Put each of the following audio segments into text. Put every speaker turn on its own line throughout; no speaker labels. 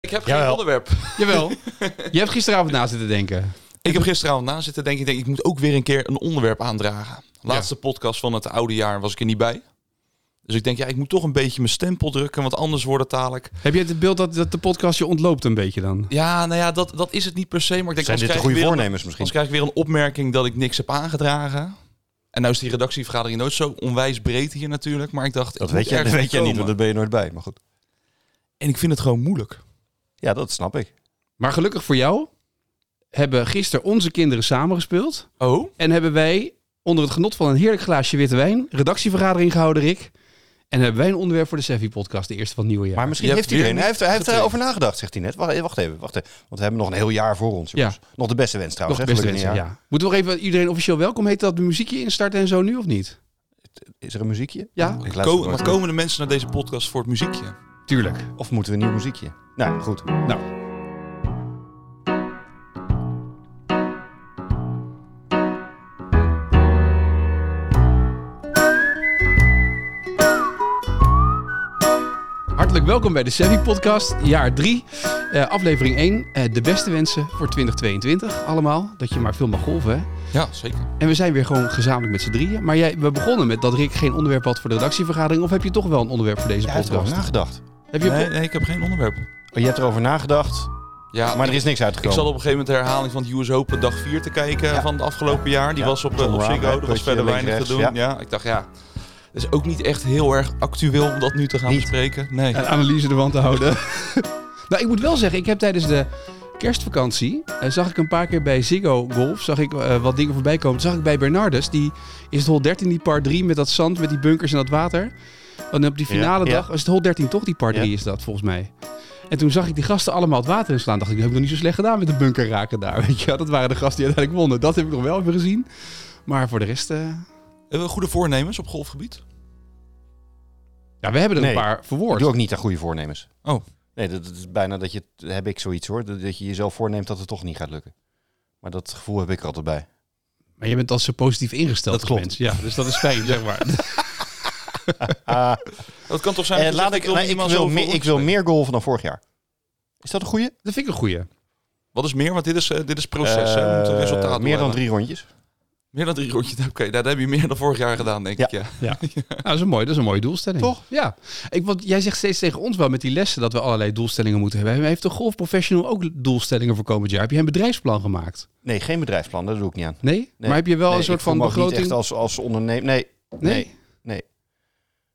Ik heb geen
Jawel.
onderwerp.
Jawel. Je hebt gisteravond na zitten denken.
Ik heb gisteravond na zitten denken, ik denk ik moet ook weer een keer een onderwerp aandragen. Laatste podcast van het oude jaar was ik er niet bij. Dus ik denk, ja, ik moet toch een beetje mijn stempel drukken, want anders wordt het dadelijk...
Heb je het beeld dat, dat de podcast je ontloopt een beetje dan?
Ja, nou ja, dat, dat is het niet per se, maar ik denk...
Zijn
anders
dit de
krijg ik
goede
weer een-
voornemens misschien?
Anders krijg ik weer een opmerking dat ik niks heb aangedragen. En nou is die redactievergadering nooit zo onwijs breed hier natuurlijk, maar ik dacht... ik
Dat
moet
weet je, dat
ergens
weet je niet,
komen.
want daar ben je nooit bij. Maar goed.
En ik vind het gewoon moeilijk.
Ja, dat snap ik.
Maar gelukkig voor jou hebben gisteren onze kinderen samengespeeld.
Oh?
En hebben wij onder het genot van een heerlijk glaasje witte wijn redactievergadering gehouden, Rick. En hebben wij een onderwerp voor de Sevi podcast, de eerste van het nieuwe jaar.
Maar misschien
Je
heeft
hebt
iedereen.
weer
Hij heeft, hij heeft
getraind.
erover nagedacht, zegt hij net. Wacht, wacht even, wacht even. Want we hebben nog een heel jaar voor ons. Jongens. Nog de beste wens
Nog
trouwens.
het
hè,
beste
gelukkig
wensen,
nieuwjaar.
ja. Moeten we nog even iedereen officieel welkom heten dat de muziekje instart en zo nu of niet?
Is er een muziekje?
Ja.
Ik luister
Ko-
nooit
maar
meer.
komen de mensen naar deze podcast voor het muziekje?
Tuurlijk.
Of moeten we een nieuw muziekje? Nou, goed.
Nou, hartelijk welkom bij de Sevi podcast, jaar 3, aflevering 1. de beste wensen voor 2022 allemaal. Dat je maar veel mag golven, hè?
Ja, zeker.
En we zijn weer gewoon gezamenlijk met z'n drieën. Maar jij, we begonnen met dat Rick geen onderwerp had voor de redactievergadering. Of heb je toch wel een onderwerp voor deze
Ja, hij heeft
podcast?
erover nagedacht.
Heb je
Nee, nee, ik heb geen onderwerp.
Oh, Je hebt erover nagedacht,
Ja,
maar er is niks
Ik
uitgekomen.
zat op een gegeven moment de herhaling van het US Open dag 4 te kijken
Ja.
van het afgelopen jaar. Die
Ja,
was op, eh,
John
op
Rahm,
Ziggo, er was
puntje
verder
links,
weinig te doen.
rechts,
Ja. ik dacht ja, dat is ook niet echt heel erg actueel om dat nu te gaan
Niet.
bespreken. Nee.
een analyse de wand te houden? nou, ik moet wel zeggen, ik heb tijdens de kerstvakantie... eh, zag ik een paar keer bij Ziggo Golf zag ik, eh, wat dingen voorbij komen. Toen zag ik bij Bernardus, die is het hol 13, die par 3 met dat zand, met die bunkers en dat water. En op die finale
Ja, ja.
dag, is het hol 13 toch die par
Ja.
3 is dat volgens mij. En toen zag ik die gasten allemaal het water in slaan. Dacht ik, dat heb ik nog niet zo slecht gedaan met de bunker raken daar. Weet je? wel. Dat waren de gasten die uiteindelijk wonnen. Dat heb ik nog wel even gezien. Maar voor de rest... eh,
Hebben we goede voornemens op golfgebied?
ja, we hebben er
Nee.
een paar
Ik
verwoord.
doe ook niet aan goede voornemens.
Oh.
Nee, dat, dat is bijna dat je, heb ik zoiets hoor, dat, dat je jezelf voorneemt dat het toch niet gaat lukken. Maar dat gevoel heb ik er altijd bij.
Maar je bent al zo positief ingesteld
Dat
als
klopt.
mens. Ja, dus dat is fijn, zeg maar.
Ah,
Dat kan toch zijn?
eh,
dat je
laat
zegt,
ik, nee, ik,
minimaal
wil
zoveel
meer, ik wil
opsteken.
meer golven dan vorig jaar. Is dat een goede?
Dat vind ik een goeie.
Wat is meer? Want dit is, eh, dit is proces. hè. We moeten een resultaat
Eh, meer dan
hebben.
drie rondjes.
Meer dan drie rondjes. Oké, dat heb je meer dan vorig jaar gedaan, denk
Ja.
ik. Ja.
Nou, dat is een mooie, dat is een mooie doelstelling.
Toch?
Ja. Ik, want jij zegt steeds tegen ons wel met die lessen dat we allerlei doelstellingen moeten hebben. Maar Heeft de golfprofessional ook doelstellingen voor komend jaar? Heb je een bedrijfsplan gemaakt?
Nee, geen bedrijfsplan, dat doe ik niet aan.
Nee? Maar heb je wel
Nee,
een soort
ik voel
van
me ook
begroting?
Niet echt als, als ondernemer. Nee,
nee?
nee. nee.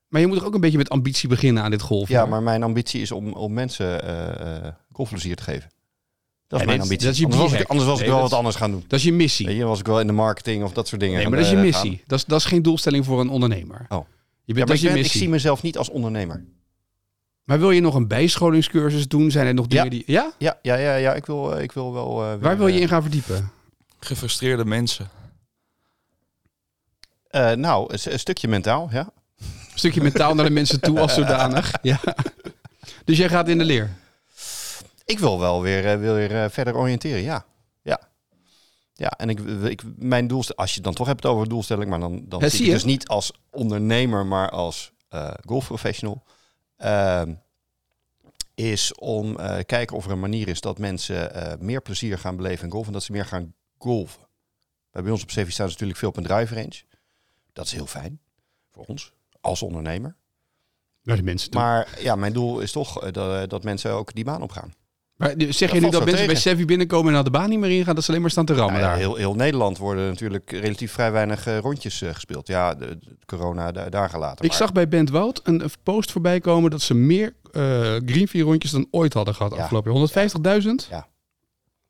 Maar je moet toch ook een beetje met ambitie beginnen aan dit golf?
Ja, maar mijn ambitie is om, om mensen eh eh, golfplezier te geven. Dat is
dit-
mijn ambitie.
dat is je
anders was ik,
project.
anders was
Nee,
ik wel
dat-
wat anders gaan doen.
Dat is je missie.
Weet je, was ik wel in de marketing of dat soort dingen.
Nee, maar dat
gaan,
is je
eh, gaan.
missie. Dat is, dat is geen doelstelling voor een ondernemer.
Oh.
Je bent,
Ja,
dat
maar ik,
is je
ben- ik
missie.
zie mezelf niet als ondernemer.
Maar wil je nog een bijscholingscursus doen? Zijn er nog dingen
Ja.
die... Ja?
Ja, ja, ja, ja ik, wil, eh, ik wil wel... eh, weer,
Waar wil je
eh,
in gaan verdiepen?
Gefrustreerde mensen.
eh, nou, een, s- een stukje mentaal, ja.
Een stukje mentaal naar de mensen toe als zodanig. Ja. Dus jij gaat in de leer?
Ik wil wel weer, eh, wil weer eh, verder oriënteren, ja. Ja, ja en ik, ik, mijn doelstelling... Als je het dan toch hebt over doelstelling, maar dan, dan
Ja,
zie
zie
ik
je.
het dus niet als ondernemer, maar als eh golfprofessional. ehm, is om eh kijken of er een manier is dat mensen eh, meer plezier gaan beleven in golf en dat ze meer gaan golven. Wij Bij ons op CV staan ze natuurlijk veel op een drive range. Dat is heel fijn voor ons als ondernemer.
Naar de mensen toe.
Maar ja, mijn doel is toch eh, dat, eh, dat mensen ook die baan opgaan.
Maar nu- zeg
Dat
je nu
valt
dat
wel
mensen bij
tegen.
Sevi binnenkomen en naar de baan niet meer ingaan, dat ze alleen maar staan te rammen
Nou ja,
daar?
heel, heel Nederland worden natuurlijk relatief vrij weinig eh, rondjes eh, gespeeld. Ja, de, de corona da- daar gelaten.
Ik
maar-
zag bij Bent Wout een een post voorbij komen dat ze meer eh greenfee rondjes dan ooit hadden gehad
Ja.
afgelopen jaar. 150.000?
Ja.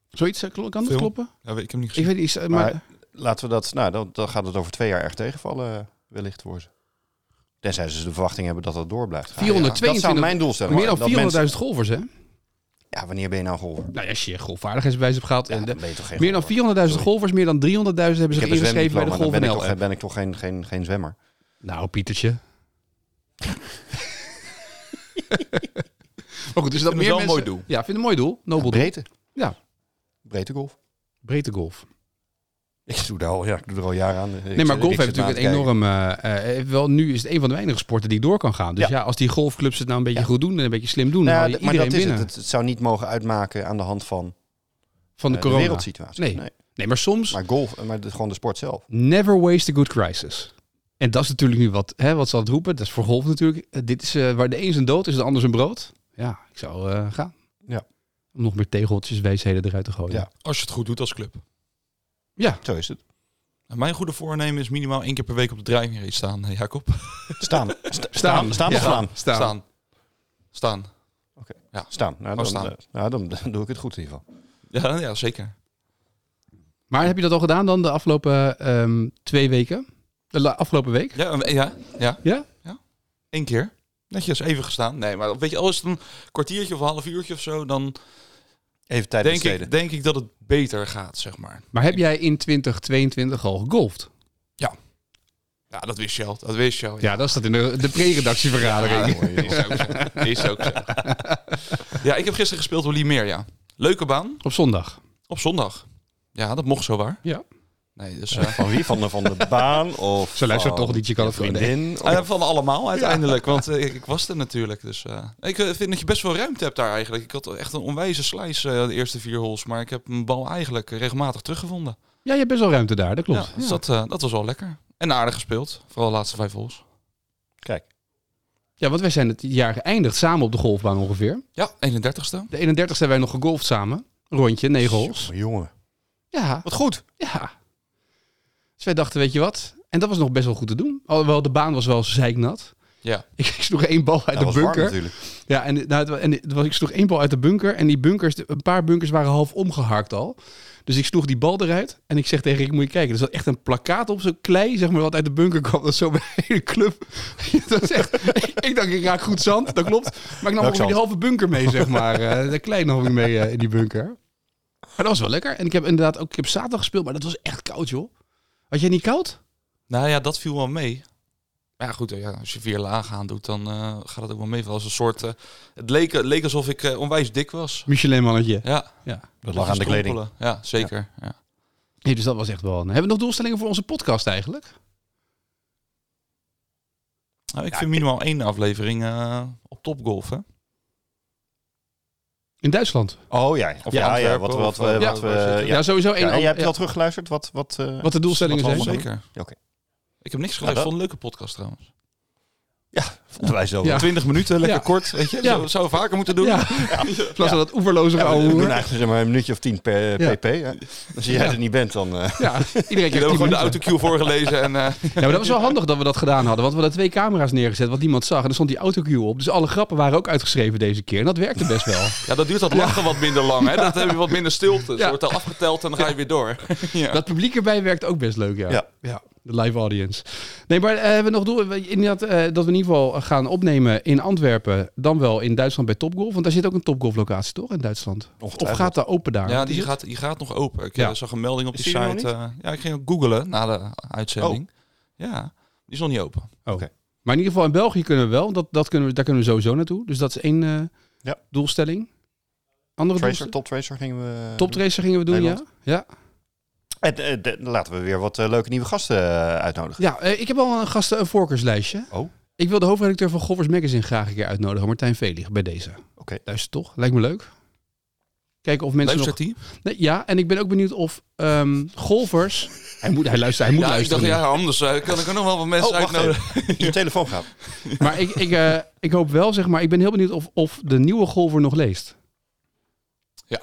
Zoiets, eh, klo- kan dat
Veel.
kloppen?
Ja, ik heb hem niet gezien.
Ik weet niet, eh, maar,
Maar- Laten we dat, nou, dan, dan gaat het over twee jaar erg tegenvallen, eh, wellicht voor ze. Tenzij ze de verwachting hebben dat dat door blijft gaan.
422
Dat zou mijn doelstelling
meer
zijn.
dan 400.000
dat mensen-
golfers, hè?
Ja, wanneer ben je nou golfer?
Nou, ja, als je je golfvaardigheidsbewijs hebt gehad.
Ja,
en de-
dan ben je toch geen
meer dan
golfer.
400.000
Sorry.
golfers, meer dan 300.000 hebben
Ik
zich
heb een
ingeschreven bij de
zwemdiploma, dan ben
Golf
ik
NL.
toch, ben ik toch geen, geen, geen zwemmer.
Nou, Pietertje. maar goed, dus dat
het
meer
wel
mensen...
een mooi doel.
Ja, ik vind het een mooi doel. Nobel doel.
Breedte.
Ja.
Breedte golf.
Breedtegolf.
Ik doe, daar al, ja, ik doe er al jaren aan. Ik zit-
eh, Nee, maar
ik
golf
zit
heeft
ernaar
natuurlijk
te
een
kijken.
enorm... eh, eh, wel, nu is het een van de weinige sporten die door kan gaan. Dus ja,
Ja.
als die golfclubs het nou een beetje
Ja.
goed doen en een beetje slim doen, dan
Nou,
haal je
d- maar dat
iedereen
is
binnen
het. het. Het zou niet mogen uitmaken aan de hand van
van de
eh,
corona.
wereldsituatie.
Nee. nee, maar soms
Maar golf, maar de- gewoon de sport zelf.
Never waste a good crisis. En dat is natuurlijk nu wat, hè, wat ze aan het roepen. Dat is voor golf natuurlijk. Eh, dit is eh, waar de een zijn dood is, de ander zijn brood. Ja, ik zou eh, gaan.
Ja.
Om nog meer tegeltjes, wijsheden eruit te gooien.
Ja.
Als je het goed doet als club.
Zo is het.
Nou, mijn goede voornemen is minimaal één keer per week op de driving range staan, Jacob.
Staan. Sta- staan. Staan
Ja.
of slaan?
Staan.
Staan. Staan.
Staan. Nou,
Oh,
dan,
staan.
eh, nou, dan, dan doe ik het goed in ieder geval.
Ja, ja, zeker.
Maar heb je dat al gedaan dan de afgelopen ehm, twee weken? De la- afgelopen week?
Ja, een- ja, ja.
Ja?
Eén keer. Netjes even gestaan. Nee, maar weet je, als het een kwartiertje of een half uurtje of zo, dan
Even tijd
denk
besteden.
ik, denk ik dat het beter gaat, zeg maar.
Maar heb jij in 2022 al gegolfd?
Ja, dat wist je al. Dat wist je al.
Ja, dat staat in de, de pre-redactievergadering.
Ja, is ook zo. Is ook zo. Ja, ik heb gisteren gespeeld op Limeer, ja. Leuke baan.
Op zondag.
Op zondag. Ja, dat mocht zo waar.
Ja.
Nee, dus... eh,
Van wie? Van de, van de baan? Of
Ze luistert
van
toch niet, je kan
je
het gewoon-
vriendin? Of-
eh, van allemaal uiteindelijk, want eh, ik, ik was er natuurlijk. Dus, eh, ik eh, vind dat je best wel ruimte hebt daar eigenlijk. Ik had echt een onwijze slice eh, de eerste vier holes, maar ik heb mijn bal eigenlijk regelmatig teruggevonden.
Ja, je hebt best wel ruimte daar, dat klopt.
Ja, dus Dat, eh, dat was wel lekker. En aardig gespeeld, vooral de laatste vijf holes.
Kijk,
Ja, want wij zijn het jaar geëindigd samen op de golfbaan ongeveer.
Ja, 31ste.
De 31ste hebben wij nog gegolfd samen. Rondje, negen holes.
jongen, jongen.
Ja,
Wat goed.
ja. Dus wij dachten, weet je wat? En dat was nog best wel goed te doen. Alhoewel, de baan was wel zeiknat.
Ja.
Ik sloeg één bal uit
Dat was
de
warm
bunker.
natuurlijk.
Ja, en, nou, het wa- en het was, ik sloeg één bal uit de bunker. En die bunkers, een paar bunkers waren half omgehaakt al. Dus ik sloeg die bal eruit. En ik zeg tegen Rick, moet je kijken. Er zat echt een plakkaat op, zo'n klei, zeg maar, wat uit de bunker kwam. Dat is zo bij de hele club. dat is echt, ik, ik dacht, ik raak goed zand. Dat klopt. Maar ik nam
Welk
ongeveer die
zand?
halve bunker mee, zeg maar. Eh, de klei nam ik mee eh, in die bunker. Maar dat was wel lekker. En ik heb inderdaad ook, ik heb zaterdag gespeeld. Maar dat was echt koud, joh. Had jij niet koud?
Nou ja, dat viel wel mee. Maar Ja, goed, eh, ja, als je vier lagen aan doet, dan eh, gaat het ook wel mee. Wel Als een soort, eh, het, leek, het leek alsof ik eh, onwijs dik was.
Michelin-mannetje.
Ja,
Dat lag aan de kleding.
strompelen. Ja, zeker. Ja.
Nee, dus dat was echt wel... een- Hebben we nog doelstellingen voor onze podcast eigenlijk?
Nou, ik
Ja,
vind
ik-
minimaal één aflevering eh, op topgolf, hè?
In Duitsland.
Oh ja,
Of
ja, ja
Antwerpen,
wat, wat,
of, eh,
we- wat
waar-
we-
waar zitten.
Ja, sowieso één.
Ja, en
al-
jij hebt
ja.
wel teruggeluisterd wat, wat, eh,
Wat de doelstellingen
wat we
zijn.
allemaal doen?
Zeker.
Oké.
Ik heb niks gezegd.
dat-
Vond een leuke podcast trouwens.
Vonden wij zo.
Ja.
20 minuten, lekker
Ja.
kort. Weet je,
Ja.
Zou- zou we vaker moeten doen.
Ja. In plaats van dat oeverloze
Ja, we- we,
ouwe
doen
hoer.
eigenlijk zeg maar een minuutje of tien per eh,
Ja.
pp. Hè? Als jij
Ja.
er niet bent, dan... eh,
Ja, iedereen
Ik
krijgt
heb
tien
gewoon de
minuten.
autocue voorgelezen. En, eh,
Ja, maar dat was wel handig dat we dat gedaan hadden. Want we hadden twee camera's neergezet wat niemand zag. En er stond die autocue op. Dus alle grappen waren ook uitgeschreven deze keer. En dat werkte best wel.
ja, dat duurt dat lachen wat minder lang. Hè? Dat heb je wat minder stilte. Dus
Ja.
wordt al afgeteld en dan ga je weer door. ja.
Dat publiek erbij werkt ook best leuk, ja.
Ja.
de live audience. Nee, maar eh, hebben we nog doel, we- inderdaad, eh, dat we in ieder geval gaan opnemen in Antwerpen. Dan wel in Duitsland bij Topgolf. Want daar zit ook een Topgolf locatie, toch? In Duitsland. Of
ongetwijfeld.
gaat daar open daar?
Ja,
Wat is
die
het?
gaat, die gaat nog open. Ik
Ja.
eh, zag een melding op
Is
die
die er nog
site. eh, ja, ik ging ook googelen na de uitzending.
Oh.
Ja, die is nog niet open.
Maar in ieder geval in België kunnen we wel. Dat, dat kunnen we, daar kunnen we sowieso naartoe. Dus dat is één eh,
Ja.
doelstelling. Andere
Tracer,
doelstelling?
top Tracer gingen we...
Toptracer gingen we doen, ja.
Nederland.
Ja,
En, eh, de- laten we weer wat eh, leuke nieuwe gasten eh, uitnodigen.
ja eh, ik heb al een gasten een voorkeurslijstje.
Oh.
Ik wil de hoofdredacteur van Goffers Magazine graag een keer uitnodigen. Martijn Velig bij deze.
Oké.
Luister toch? Lijkt me leuk. Kijken of mensen
Luistert die?
nog... Nee, ja, en ik ben ook benieuwd of ehm, golfers... hij moet, hij luistert, hij moet
Ja, ik
luisteren.
dacht, ja, anders eh, kan ik er nog wel wat mensen
Oh, wacht
uitnodigen.
Je telefoon gaat.
Maar ik, ik, eh, ik hoop wel, zeg maar, ik ben heel benieuwd of, of de nieuwe golfer nog leest.
Ja.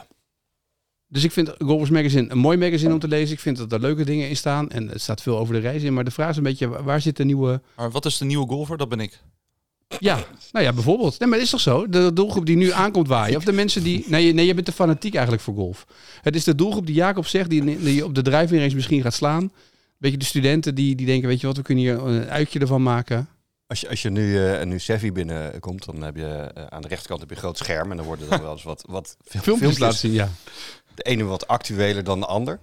Dus ik vind Golfers Magazine een mooi magazine om te lezen. Ik vind dat er leuke dingen in staan. En er staat veel over de reis in. Maar de vraag is een beetje, wa- waar zit de nieuwe...
Maar wat is de nieuwe golfer? Dat ben ik.
Ja, nou ja, bijvoorbeeld. Nee, maar het is toch zo? De doelgroep die nu aankomt waaien. Of de mensen die... Nee, je- nee je bent te fanatiek eigenlijk voor golf. Het is de doelgroep die Jacob zegt, die, die op de driving range misschien gaat slaan. Beetje de studenten die, die denken, weet je wat, we kunnen hier een uitje ervan maken.
Als je, als je nu, eh, nu Sevi binnenkomt, dan heb je eh, aan de rechterkant heb je een groot scherm. En dan worden dan wel eens wat, wat fil-
Filmpjes laten zien, ja.
De ene wat actueler dan de ander.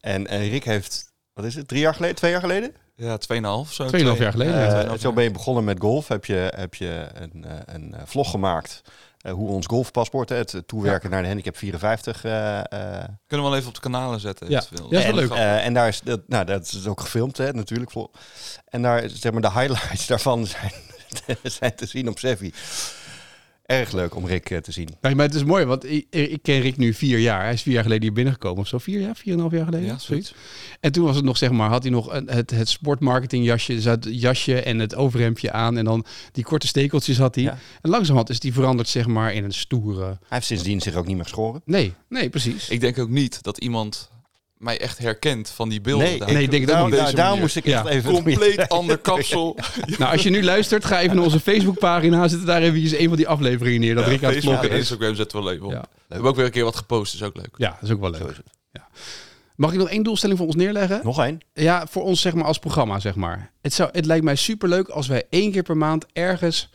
En, en Rick heeft, wat is het, drie jaar geleden, twee jaar geleden?
Ja, 2,5. zo,
Tweeënhalf
twee-
jaar geleden,
Ja,
Eh,
tweeënhalf
zo
jaar.
ben je begonnen met golf. Heb je, heb je een, eh, een eh, vlog gemaakt eh, hoe ons golfpaspoort, hè, het toewerken naar de handicap 54. eh, eh,
Kunnen we wel even op de kanalen zetten.
Ja.
eventueel.
Ja, is wel
en,
leuk.
eh, en daar is dat, nou, dat is ook gefilmd, hè, natuurlijk. vol- En daar, zeg maar, de highlights daarvan zijn, zijn te zien op Sevi. Erg leuk om Rick eh, te zien.
Nee, maar het is mooi, want ik, ik ken Rick nu vier jaar. Hij is vier jaar geleden hier binnengekomen of zo. Vier jaar, vier en een half jaar geleden,
Ja,
zoiets. En toen was het nog, zeg maar, had hij nog een- het, het sportmarketingjasje, dus het jasje en het overhemdje aan. En dan die korte stekeltjes had hij.
Ja.
En langzamerhand is die veranderd, zeg maar, in een stoere...
Hij heeft sindsdien zich ook niet meer geschoren.
Nee, nee, precies.
Ik denk ook niet dat iemand mij echt herkent van die beelden. daar.
nee, ik denk het ook
daarom,
niet.
daar-
Deze
daarom
manier.
moest ik echt
Ja.
even...
Compleet ander kapsel.
Nou, als je nu luistert, ga even naar onze Facebookpagina zitten. Daar hebben we eens een van die afleveringen neer, dat
Ja,
Rick aan het
Facebook
vloggen
en
is.
Instagram zetten we leuk op.
Ja.
We hebben ook weer een keer wat gepost, is ook leuk.
Ja, dat is ook wel
Zo
leuk.
is het.
Mag ik nog één doelstelling voor ons neerleggen?
Nog één.
Ja, voor ons zeg maar als programma, zeg maar. Het, zou, het lijkt mij superleuk als wij één keer per maand ergens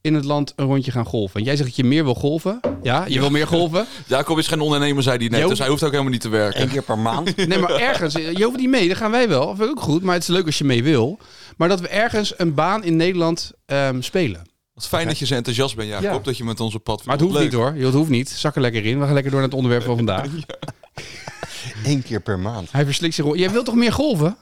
in het land een rondje gaan golven. En jij zegt dat je meer wil golven. Ja, je wil meer golven.
Jacob is geen ondernemer, zei hij net,
Jo.
dus hij hoeft ook helemaal niet te werken.
Eén keer per maand.
Nee, maar ergens. Je hoeft niet mee, dan gaan wij wel. Dat vind ik ook goed, maar het is leuk als je mee wil. Maar dat we ergens een baan in Nederland ehm, spelen.
Wat fijn dat je zo enthousiast bent, Jacob,
Ja.
dat je met ons op pad
Maar het hoeft
Leuk.
niet hoor. Het hoeft niet. Zak er lekker in. We gaan lekker door naar het onderwerp van vandaag.
Eén keer per maand.
Hij verslikt zich. Jij wilt toch meer golven?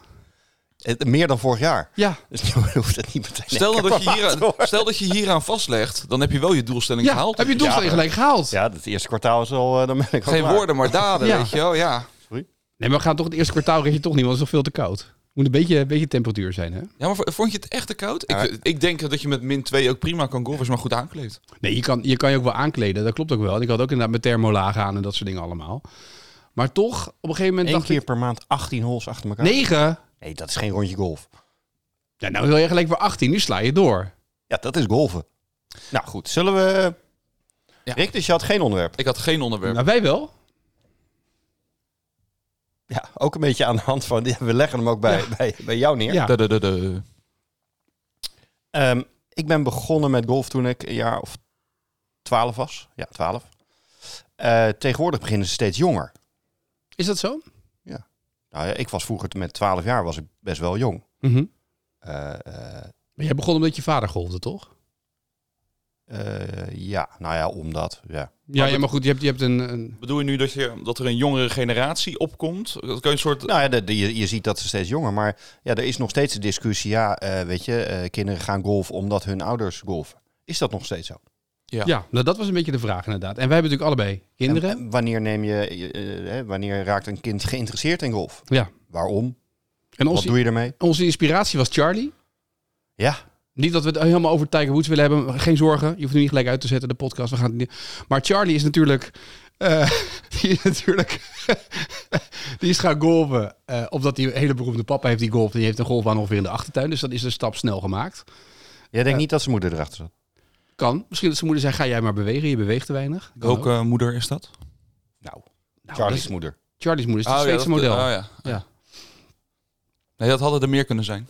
Het- meer dan vorig jaar.
Ja.
Dus nu hoeft het niet meteen.
Stel,
één
nou dat
keer per
je
maand,
hieraan,
hoor.
stel dat je hieraan vastlegt, dan heb je wel je doelstelling
ja.
gehaald.
Heb je doelstelling
Ja.
gelijk gehaald?
Ja, het eerste kwartaal is al. eh, dan ben ik al
Geen
klaar.
woorden, maar daden,
Ja.
weet je wel. Ja.
Nee, maar we gaan toch het eerste kwartaal red je toch niet, want het is nog veel te koud. Moet een beetje, een beetje temperatuur zijn, hè?
ja, maar v- vond je het echt te koud?
Ja.
Ik, ik denk dat je met min 2 ook prima kan golven als je maar goed aankleedt.
Nee, je kan, je kan je ook wel aankleden. Dat klopt ook wel. En Ik had ook inderdaad mijn thermolagen aan en dat soort dingen allemaal. Maar toch, op een gegeven moment
Eén
dacht
keer
ik...
per maand 18 holes achter elkaar.
Negen?
Nee, dat is geen rondje golf.
Ja, nou wil je gelijk weer 18. Nu sla je door.
Ja, dat is golven. Nou goed, zullen we.
Ja.
Rick, dus je had geen onderwerp.
Ik had geen onderwerp.
Nou, wij wel.
Ja, ook een beetje aan de hand van. ja, we leggen hem ook bij, bij, bij jou neer.
Ja.
Dadadada.
Ehm, ik ben begonnen met golf toen ik een jaar of 12 was. Ja, 12. Eh, tegenwoordig beginnen ze steeds jonger.
Is dat zo?
Nou ja, ik was vroeger met 12 jaar was ik best wel jong.
Mhm.
Eh, eh,
Maar jij begon omdat je vader golfde, toch?
eh, ja, nou ja, omdat. Ja.
Ja,
dat-
ja maar goed, je hebt, je hebt een... een...
Bedoel je nu dat, je, dat er een jongere generatie opkomt? Dat kan je een soort...
Nou ja, de- de- je, je ziet dat ze steeds jonger. Maar ja, er is nog steeds de discussie. Ja, eh, weet je, eh, kinderen gaan golfen omdat hun ouders golfen. Is dat nog steeds zo?
Ja.
Ja, nou, dat was een beetje de vraag inderdaad. En wij hebben natuurlijk allebei kinderen.
En, eh, wanneer, neem je, eh, eh, hè, wanneer raakt een kind geïnteresseerd in golf?
ja.
Waarom?
En
Wat
onze,
doe je ermee?
onze inspiratie was Charlie.
Ja,
Niet dat we het helemaal over Tiger Woods willen hebben. Geen zorgen. Je hoeft nu niet gelijk uit te zetten, de podcast. We gaan het niet... Maar Charlie is natuurlijk... eh, die is natuurlijk... die is gaan golven. eh, omdat hij een hele beroemde papa heeft die golft. Die heeft een golfbaan ongeveer in de achtertuin. Dus dat is de stap snel gemaakt.
jij denkt niet dat zijn moeder erachter zat.
Kan. Misschien dat zijn moeder zei, ga jij maar bewegen. Je beweegt te weinig. Kan
Welke moeder is dat?
Nou,
Nou,
Charlie's
dat is-
moeder.
Charlie's moeder is het
ja,
Zweedse
dat-
model.
oh
ja.
ja. Nee, dat hadden er meer kunnen zijn.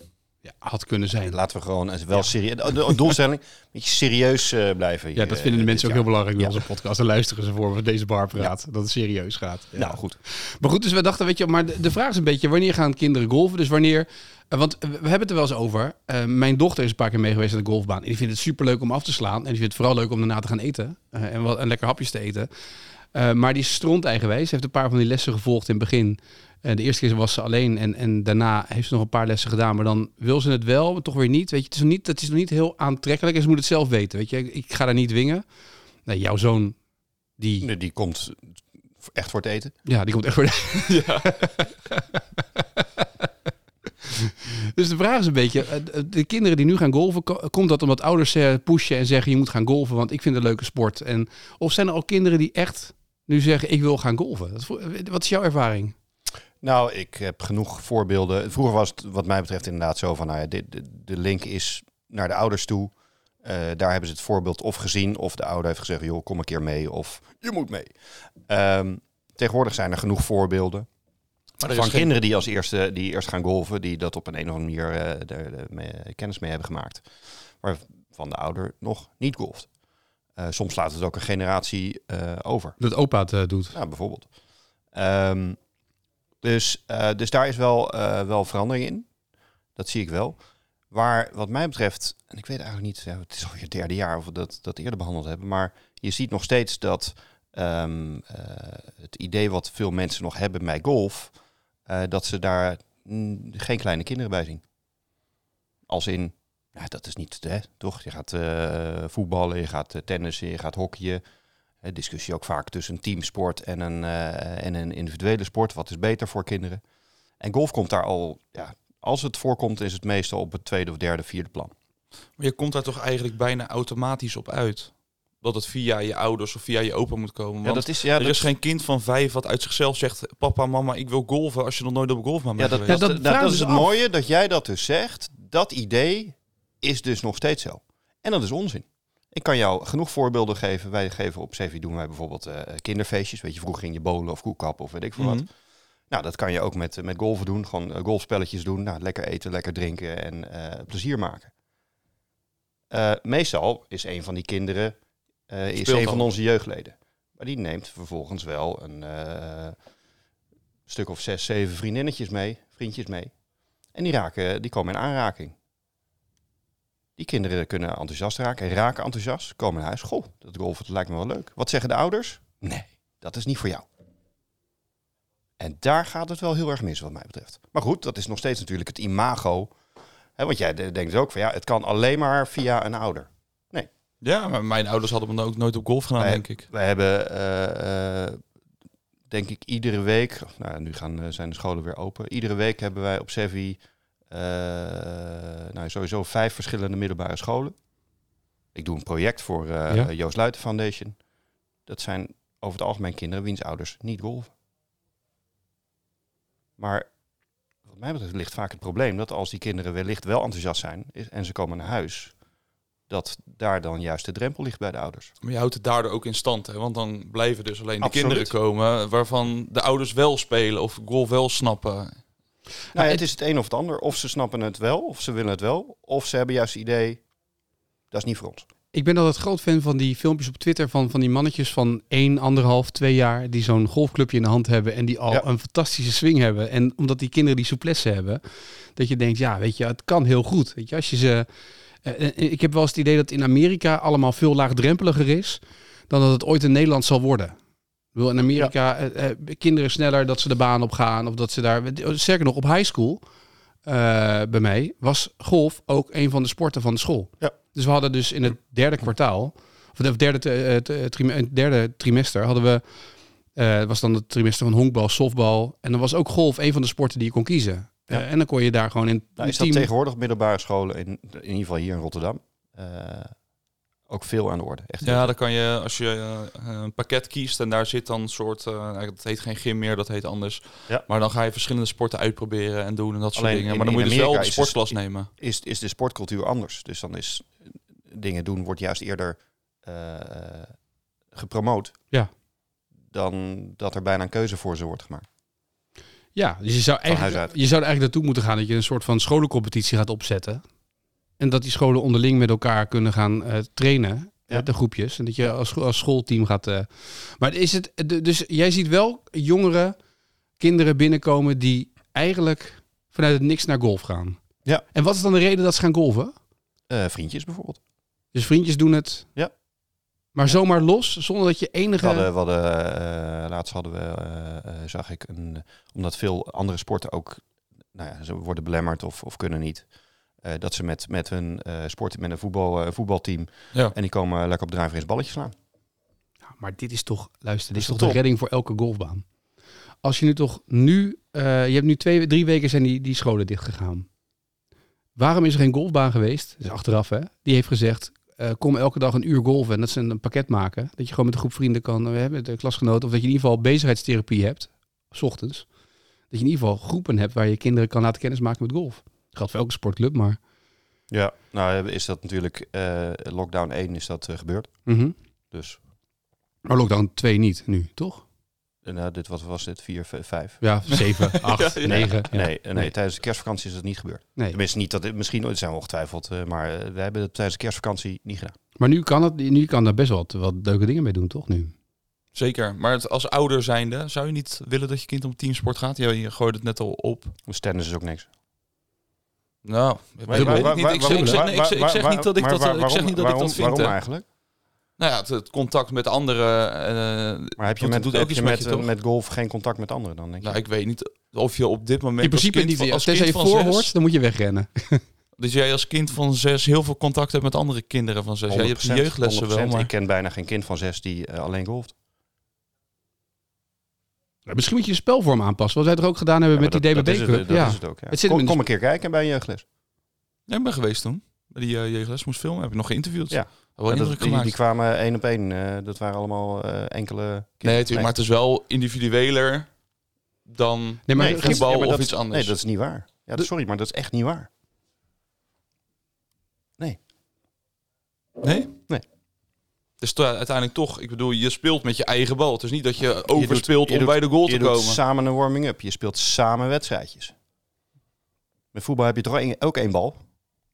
had kunnen zijn.
Laten we gewoon eens wel serieus. De, de doelstelling, een beetje serieus eh, blijven.
Ja, dat vinden de mensen ook heel belangrijk bij
Ja.
onze podcast. Daar luisteren ze voor, voor deze barpraat. Dat het serieus gaat. Ja.
Nou goed.
Maar goed, dus we dachten, weet je, maar de de vraag is een beetje, wanneer gaan kinderen golven? Dus wanneer, eh, want we hebben het er wel eens over. Eh, mijn dochter is een paar keer mee geweest aan de golfbaan. En die vindt het superleuk om af te slaan. En die vindt het vooral leuk om daarna te gaan eten. Eh, en, wat, en lekker hapjes te eten. Eh, maar die is stront eigenwijs. Ze heeft een paar van die lessen gevolgd in het begin. Eh, de eerste keer was ze alleen en, en daarna heeft ze nog een paar lessen gedaan. Maar dan wil ze het wel, maar toch weer niet. Weet je, het is nog niet, dat is nog niet heel aantrekkelijk en ze moet het zelf weten. Weet je, ik, ik ga daar niet dwingen. Nee, jouw zoon, die...
Nee, Die komt echt voor het eten.
Ja, die komt echt voor de... dus de vraag is een beetje, eh, de kinderen die nu gaan golven, ko- komt dat omdat ouders eh, pushen en zeggen je moet gaan golven, want ik vind het een leuke sport. En, of zijn er al kinderen die echt nu zeggen ik wil gaan golven? Dat vo- Wat is jouw ervaring?
Nou, ik heb genoeg voorbeelden. Vroeger was het wat mij betreft inderdaad zo van, nou ja, de, de, de link is naar de ouders toe. Eh, daar hebben ze het voorbeeld of gezien, of de ouder heeft gezegd, joh, kom een keer mee, of je moet mee. Ehm, tegenwoordig zijn er genoeg voorbeelden
Maar
van kinderen die als eerste die eerst gaan golven, die dat op een, een of andere manier eh, er, eh, mee- kennis mee hebben gemaakt, waarvan de ouder nog niet golft. Eh, soms laat het ook een generatie eh, over.
Dat opa het eh, doet.
Ja, bijvoorbeeld. Ehm, dus, eh, dus daar is wel, eh, wel verandering in. Dat zie ik wel. Waar wat mij betreft, en ik weet eigenlijk niet, ja, het is alweer het derde jaar of we dat, dat eerder behandeld hebben, maar je ziet nog steeds dat ehm, eh, het idee wat veel mensen nog hebben bij golf, eh, dat ze daar mm, geen kleine kinderen bij zien. Als in, ja, dat is niet, hè, toch? Je gaat eh, voetballen, je gaat eh, tennissen, je gaat hockeyen. Eh, discussie ook vaak tussen een teamsport en een, eh, en een individuele sport. Wat is beter voor kinderen? En golf komt daar al, ja, als het voorkomt, is het meestal op het tweede of derde, vierde plan.
Maar je komt daar toch eigenlijk bijna automatisch op uit. Dat het via je ouders of via je opa moet komen.
Ja,
Want
dat is, ja,
er
dat,
is geen kind van vijf wat uit zichzelf zegt... Papa, mama, ik wil golven als je nog nooit op een golfbaan
ja,
bent
dat,
geweest.
dat
dat, dat,
vragen
dat
ze
is het
af.
mooie dat jij dat dus zegt. Dat idee is dus nog steeds zo. En dat is onzin. Ik kan jou genoeg voorbeelden geven. Wij geven op CV doen wij bijvoorbeeld eh, kinderfeestjes. Weet je, vroeger ging je bolen of koekkappen of weet ik veel wat.
Mhm.
Nou, dat kan je ook met, eh, met golven doen. Gewoon eh, golfspelletjes doen. Nou, lekker eten, lekker drinken en eh, plezier maken. Eh, meestal is een van die kinderen eh, is
Speelt
een
al.
van onze jeugdleden. Maar die neemt vervolgens wel een eh, stuk of zes, zeven vriendinnetjes mee, vriendjes mee. En die, raken, die komen in aanraking. Die kinderen kunnen enthousiast raken en raken enthousiast. Komen naar huis. Goh, dat golfen dat lijkt me wel leuk. Wat zeggen de ouders? Nee, dat is niet voor jou. En daar gaat het wel heel erg mis, wat mij betreft. Maar goed, dat is nog steeds natuurlijk het imago. Hè, want jij de- denkt ook van ja, het kan alleen maar via een ouder.
Ja, maar mijn ouders hadden me dan ook nooit op golf gedaan,
Nee.
denk ik.
Wij hebben, eh, eh, denk ik, iedere week. of, Nou, nu gaan, eh, zijn de scholen weer open. Iedere week hebben wij op Sevi. eh, nou, sowieso vijf verschillende middelbare scholen. Ik doe een project voor eh,
Ja.
Joost Luiten Foundation. Dat zijn over het algemeen kinderen wiens ouders niet golven. Maar wat mij betreft ligt vaak het probleem dat als die kinderen wellicht wel enthousiast zijn is- en ze komen naar huis, dat daar dan juist de drempel ligt bij de ouders.
Maar je houdt het daardoor ook in stand, hè? Want dan blijven dus alleen de
Absoluut.
kinderen komen... waarvan de ouders wel spelen of golf wel snappen.
Nou, ja,
het-
het is het een of het ander. Of ze snappen het wel, of ze willen het wel. Of ze hebben juist het idee, dat is niet voor ons. Nou,
Ik ben altijd groot fan van die filmpjes op Twitter van, van die mannetjes van 1, anderhalf, 2 jaar die zo'n golfclubje in de hand hebben en die al
Ja.
een fantastische swing hebben. En omdat die kinderen die souplesse hebben, dat je denkt, ja, weet je, het kan heel goed. Weet je, als je ze, eh, eh, ik heb wel eens het idee dat in Amerika allemaal veel laagdrempeliger is dan dat het ooit in Nederland zal worden. Ik bedoel, in Amerika eh, eh, kinderen sneller dat ze de baan op gaan of dat ze daar. oh, Sterker nog, op high school eh, bij mij was golf ook een van de sporten van de school.
Ja.
Dus we hadden dus in het derde kwartaal, of het derde, eh, eh, tri- eh, derde trimester, hadden we. eh, het was dan het trimester van honkbal, softbal. En dan was ook golf een van de sporten die je kon kiezen.
Ja.
Eh, en dan kon je daar gewoon in.
Nou,
een
is dat
team-
tegenwoordig op middelbare scholen, in, in ieder geval hier in Rotterdam, eh, ook veel aan de orde. Echt heel
Ja, dan kan je, als je eh, een pakket kiest en daar zit dan een soort, eh, nou, dat heet geen gym meer, dat heet anders.
Ja.
Maar dan ga je verschillende sporten uitproberen en doen en dat soort
Alleen
dingen.
in-
Maar dan
in
moet je dus wel
Amerika
de
is
sportklas
het-
nemen.
is, is de sportcultuur anders. Dus dan is dingen doen wordt juist eerder eh, gepromoot.
Ja.
Dan dat er bijna een keuze voor ze wordt gemaakt.
Ja, dus je zou,
huis
eigenlijk,
uit.
je zou er eigenlijk naartoe moeten gaan dat je een soort van scholencompetitie gaat opzetten. En dat die scholen onderling met elkaar kunnen gaan eh, trainen.
Ja.
eh, De groepjes. En dat je als, scho- als schoolteam gaat. eh, maar is het. d- Dus jij ziet wel jongere kinderen binnenkomen die eigenlijk vanuit het niks naar golf gaan.
Ja.
En wat is dan de reden dat ze gaan golven?
Eh, vriendjes bijvoorbeeld.
Dus vriendjes doen het.
Ja.
Maar zomaar los, zonder dat je enige.
We hadden, we hadden, eh, laatst hadden we, eh, eh, zag ik, een, omdat veel andere sporten ook, nou ja, ze worden belemmerd of, of kunnen niet. eh, dat ze met, met hun eh, sport, met een voetbal, eh, voetbalteam,
Ja.
en die komen lekker op drijvers balletjes slaan.
Ja, Maar dit is toch, luister, dit is
Dat
toch
is top.
de redding voor elke golfbaan. Als je nu toch nu, eh, je hebt nu twee, drie weken zijn die, die scholen dichtgegaan. Waarom is er geen golfbaan geweest? Dat is achteraf hè. Die heeft gezegd, eh, kom elke dag een uur golven en dat ze een, een pakket maken. Dat je gewoon met een groep vrienden kan, eh, met de klasgenoten. Of dat je in ieder geval bezigheidstherapie hebt, s ochtends. Dat je in ieder geval groepen hebt waar je kinderen kan laten kennismaken met golf. Dat geldt voor elke sportclub, maar...
Ja. Nou is dat natuurlijk, eh, lockdown 1 is dat eh, gebeurd.
Mhm.
Dus
Maar lockdown 2 niet nu, toch?
eh, nou, dit, wat was dit, 4, 5?
Ja, 7, 8,
Ja, ja.
9.
Nee, eh, nee,
Nee.
tijdens de kerstvakantie is dat niet gebeurd.
nee.
Tenminste, niet dat, misschien ooit zijn we ongetwijfeld, eh, maar eh, we hebben het tijdens de kerstvakantie niet gedaan.
Maar nu kan, het, nu kan daar best wel wat, wat leuke dingen mee doen, toch? Nu.
Zeker. Maar het, als ouder zijnde, zou je niet willen dat je kind om teamsport gaat? Ja, je gooit het net al op.
Dus tennis is ook niks.
Nou, ik weet het niet. Ik zeg- ik zeg- nee, ik zeg- ik zeg niet dat ik dat eh, ik zeg niet dat ik dat vind.
Waarom
hè.
eigenlijk?
Nou ja, het, het contact met anderen. eh,
Maar heb je
Dat
met,
doet
heb
ook iets
je
met
met,
je,
eh,
toch?
met golf geen contact met anderen dan? Denk je?
nou, ik weet niet of je op dit moment.
In principe
als kind
niet.
van-
Als
als
tenzij je
kind van zes-
voorhoort, dan moet je wegrennen.
Dus jij als kind van zes heel veel contact hebt met andere kinderen van zes. Ja, je hebt de
100%,
jeugdlessen wel,
100%. Ik
maar
ken bijna geen kind van zes die eh, alleen golft.
Misschien moet je je spelvorm aanpassen. Wat wij toch ook gedaan hebben
Ja,
met die
maar dat- dat is
DBB
het-
Cup.
Dat
Ja.
is het ook, ja.
Het zit hem
Kom
in de
kom een keer kijken bij een jeugdles.
Nee, ik ben geweest toen. Bij die eh, jeugdles moest filmen. Heb ik nog geïnterviewd.
Ja.
Ja. Wel
Ja, dat-
indruk
die,
gemaakt.
die kwamen één op één. eh, dat waren allemaal eh, enkele kinderen.
nee, natuurlijk, maar het is wel individueler dan
Nee, maar
Nee,
Gip-
dat is-
voetbal
ja, maar
of
dat-
iets anders.
Nee, dat is niet waar. Ja,
De-
sorry, maar dat is echt niet waar.
Nee?
Nee.
Dus to- uiteindelijk toch, ik bedoel, je speelt met je eigen bal. Het is niet dat je overspeelt
je
om
doet-
bij de goal
je
te
doet
komen.
samen een warming-up. Je speelt samen wedstrijdjes. Met voetbal heb je toch één- ook één bal.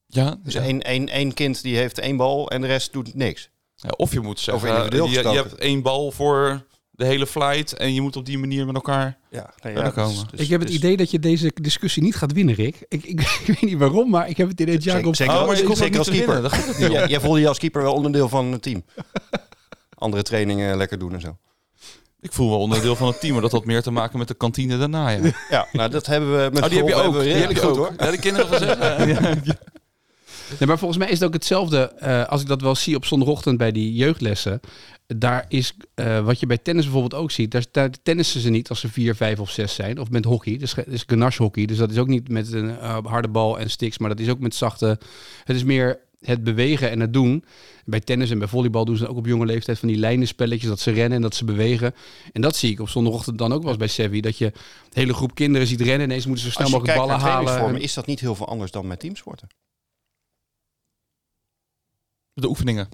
Ja,
Dus
ja.
één, één, één kind die heeft één bal en de rest doet niks.
Ja, Of je moet zeggen,
individueel
eh, je, je
gestoken.
hebt één bal voor de hele flight en je moet op die manier met elkaar...
Ja, dus
ja, dat komen. is-
ik heb het idee dat je deze discussie niet gaat winnen, Rick. Ik, ik, ik weet niet waarom, maar ik heb het idee dat Jacob...
Zeker,
Oh, maar
zeker,
je hoeft
zeker
ook
als
niet te
keeper.
winnen, dat gaat het niet om.
Jij, jij voelde je als keeper wel onderdeel van het team. Andere trainingen lekker doen en zo.
Ik voel me onderdeel van het team, maar dat had meer te maken met de kantine daarna. Ja.
Ja, nou dat hebben we met
Oh, die Oh, heb je
golf
ook.
hebben we
Die heb
redelijk
je
goed
ook.
hoor.
Ja, de kinderen van zes. eh,
Nee, maar volgens mij is het ook hetzelfde eh, als ik dat wel zie op zondagochtend bij die jeugdlessen. Daar is, eh, wat je bij tennis bijvoorbeeld ook ziet, daar, daar tennissen ze niet als ze vier, vijf of zes zijn. Of met hockey, dus, ge- dus ganache hockey. Dus dat is ook niet met een eh, harde bal en sticks, maar dat is ook met zachte... Het is meer het bewegen en het doen. Bij tennis en bij volleybal doen ze dat ook op jonge leeftijd van die lijnenspelletjes, dat ze rennen en dat ze bewegen. En dat zie ik op zondagochtend dan ook wel eens bij Sevi, dat je een hele groep kinderen ziet rennen. Ineens moeten ze zo
Als
snel
je
mogelijk
kijkt
ballen
naar
halen.
trainingsvormen, is dat niet heel veel anders dan met teamsporten.
De oefeningen.